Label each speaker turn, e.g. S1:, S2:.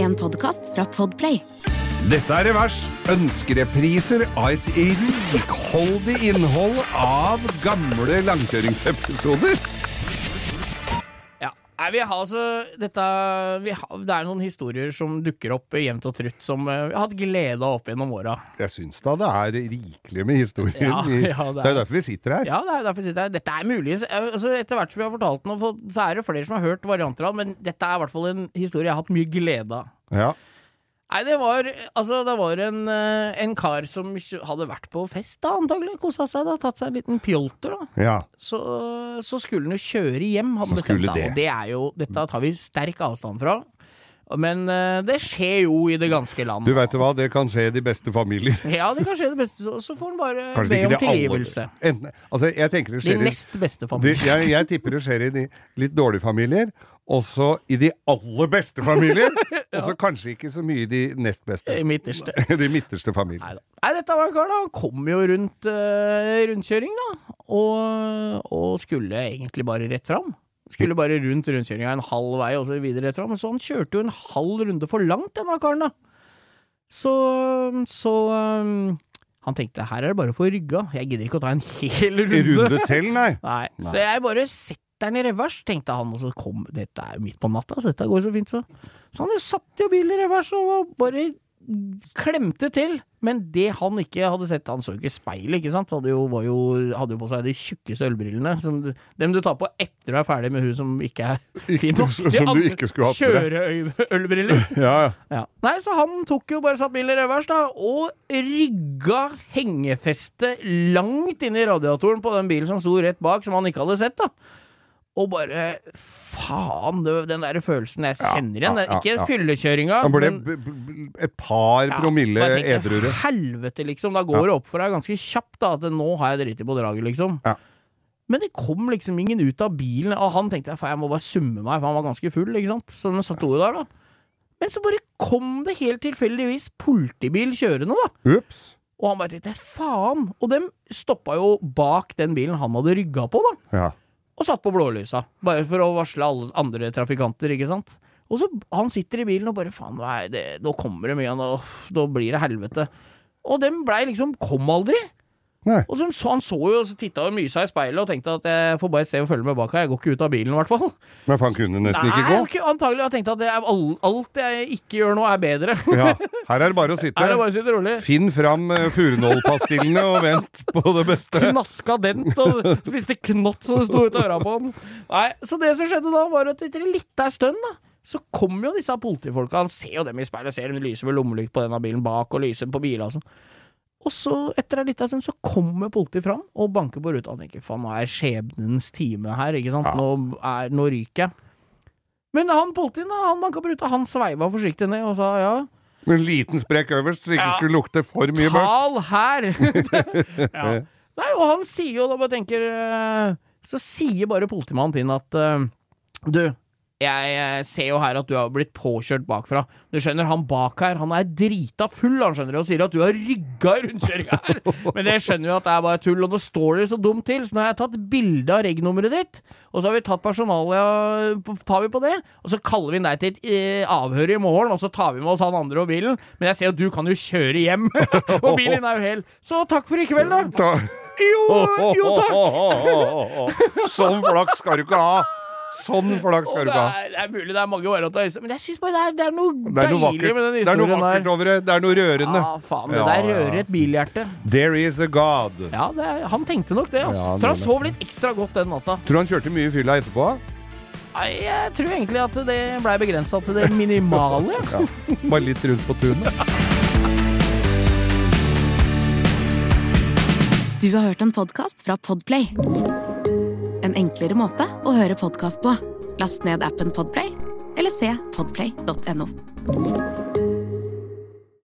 S1: en podkast fra Podplay.
S2: Dette er Revers. Ønskerepriser av et rikholdig innhold av gamle langkjøringsepisoder.
S3: Ja. Nei, vi har altså dette vi har, Det er noen historier som dukker opp jevnt og trutt, som eh, vi har hatt glede av opp gjennom åra.
S2: Jeg syns da det er rikelig med historier.
S3: Ja,
S2: i-
S3: ja, det er-
S2: det er derfor vi sitter her.
S3: Ja, det er jo derfor jeg sitter her. Dette er mulig. Altså, etter hvert som vi har fortalt den, og fått- så er det flere som har hørt varianter av den, men dette er i hvert fall en historie jeg har hatt mye glede av.
S2: Ja.
S3: Nei, det var, altså, det var en, eh, en kar som kjø- hadde vært på fest, da, antagelig. Kosa seg, da. Tatt seg en liten pjolter, da.
S2: ja.
S3: Så, så skulle han jo kjøre hjem, hadde
S2: Så
S3: bestemt
S2: skulle
S3: seg.
S2: det.
S3: Og det er jo Dette tar vi sterk avstand fra. Men eh, det skjer jo i det ganske land.
S2: Du veit hva, det kan skje i de beste familier.
S3: Ja, det kan skje det beste. Og så får han bare
S2: Kanskje
S3: be
S2: ikke
S3: om
S2: det aller-
S3: tilgivelse.
S2: Enten, altså, jeg tenker det
S3: De
S2: skjer i
S3: nest beste
S2: de,
S3: familiene.
S2: jeg, jeg tipper det skjer i de litt dårlige familier, også i de aller beste familier, og så kanskje ikke så mye i de nest beste.
S3: I midterste.
S2: de midterste familier.
S3: Neida. Nei, dette var en kar, da. Han kom jo rundt eh, rundkjøring, da. Og, og skulle egentlig bare rett fram. Skulle bare rundt rundkjøringa en halv vei og så videre rett fram. Så han kjørte jo en halv runde for langt, denne karen, da. Så, så um, han tenkte her er det bare å få rygga. Jeg gidder ikke å ta en hel
S2: I
S3: runde.
S2: runde til, nei.
S3: Nei. Så jeg bare setter den i revers, tenkte han, og så kom Dette er jo midt på natta, så dette går jo så fint, så. Så han jo satt jo bilen i revers og var bare klemte til. Men det han ikke hadde sett Han så jo ikke speilet, ikke sant? Hadde jo, var jo, hadde jo på seg de tjukkeste ølbrillene. Som, du- dem du tar på etter du er ferdig med hun som ikke er fin nok.
S2: som du
S3: andre
S2: ikke skulle hatt på deg.
S3: Kjøreølbriller.
S2: Ja, ja.
S3: Ja. Nei, så han tok jo bare satt bilen i revers, da, og rygga hengefestet langt inn i radiatoren på den bilen som sto rett bak, som han ikke hadde sett, da. Og bare Faen, det, den der følelsen jeg kjenner igjen. det er
S2: ja,
S3: ikke
S2: ja.
S3: fyllekjøringa.
S2: Han ble
S3: men-
S2: b b et par
S3: ja,
S2: promille
S3: bare tenker,
S2: edruere.
S3: Helvete, liksom. Da går det opp for deg ganske kjapt da, at nå har jeg driti på draget, liksom.
S2: Ja.
S3: Men det kom liksom ingen ut av bilen, og han tenkte faen, jeg må bare summe meg, for han var ganske full, ikke sant. Så de satt jo der, da. Men så bare kom det helt tilfeldigvis politibil kjørende, da.
S2: Ups.
S3: Og han bare tenkte faen. Og dem stoppa jo bak den bilen han hadde rygga på, da
S2: Ja.
S3: og satt på blålysa. Bare for å varsle alle andre trafikanter, ikke sant. Og så Han sitter i bilen og bare faen, nei, det, nå kommer det mye, nå, nå blir det helvete. Og dem blei liksom kom aldri.
S2: Nei.
S3: Og så, så Han så jo og titta og mysa i speilet og tenkte at jeg får bare se og følge med bak her, jeg går ikke ut av bilen i hvert fall.
S2: Men for han kunne nesten ikke
S3: Nei,
S2: gå.
S3: ok, antagelig. Jeg tenkte at det er all, alt jeg ikke gjør nå, er bedre.
S2: Ja. Her er det bare å
S3: Her er
S2: sitte.
S3: det bare å sitte rolig.
S2: Finn fram eh, furunålpastillene og vent på det beste.
S3: Knaska dent og spiste knott som det sto ut av øra på ham. Nei, Så det som skjedde da, var at etter en lita stund, da, så kom jo disse politifolka. Han ser jo dem i speilet, ser dem lyse med lommelykt på denne bilen bak, og lyser på biler og sånn. Og så, etter en lita stund, så kommer politiet fram og banker på ruta. Han tenker faen, nå er skjebnens time her, ikke sant. Nå, er, nå ryker jeg. Men han politien, da, han banka på ruta, han sveiva forsiktig ned og sa ja.
S2: Med en liten sprekk øverst, så det ikke
S3: Ja.
S2: skulle lukte for mye børst.
S3: Tal her! ja. Nei, og han sier jo da bare tenker eh, Så sier bare politimannen din at eh, Du, jeg eh, ser jo her at du har blitt påkjørt bakfra. Du skjønner, han bak her, han er drita full, han skjønner, og sier at du har rygga i rundkjøringa her. Men det skjønner jo at det er bare tull, og nå står det jo så dumt til, så nå har jeg tatt bilde av reg-nummeret ditt, og så har vi tatt personalia, tar vi på det, og så kaller vi inn deg til et eh, avhør i morgen, og så tar vi med oss han andre og bilen, men jeg ser jo at du kan jo kjøre hjem, og bilen din er jo hel. Så takk for i kveld, da.
S2: Ta-
S3: Jo, jo takk!
S2: Sånn flaks skal du ikke ha! Sånn flaks
S3: Og
S2: skal du
S3: det,
S2: ikke ha.
S3: er, det er mulig det er mange varianter av historien, men jeg syns bare det er, det er noe
S2: Det er noe
S3: deilig
S2: vakkert,
S3: med den
S2: det er noe
S3: historien
S2: vakkert over det. Det er noe
S3: Ja,
S2: rørende.
S3: faen, det
S2: Ja,
S3: der
S2: ja.
S3: rører et bilhjerte.
S2: There is a God.
S3: Ja, det er, han tenkte nok det, altså.
S2: Ja, han
S3: tror han
S2: gjorde
S3: sov litt ekstra godt den natta.
S2: Tror du han kjørte mye i fylla etterpå?
S3: Nei, jeg tror egentlig at det blei begrensa til det minimale.
S2: Ja. Bare litt rundt på tunet?
S1: Du har hørt en podkast fra Podplay. En enklere måte å høre podkast på. Last ned appen Podplay, eller se podplay.no.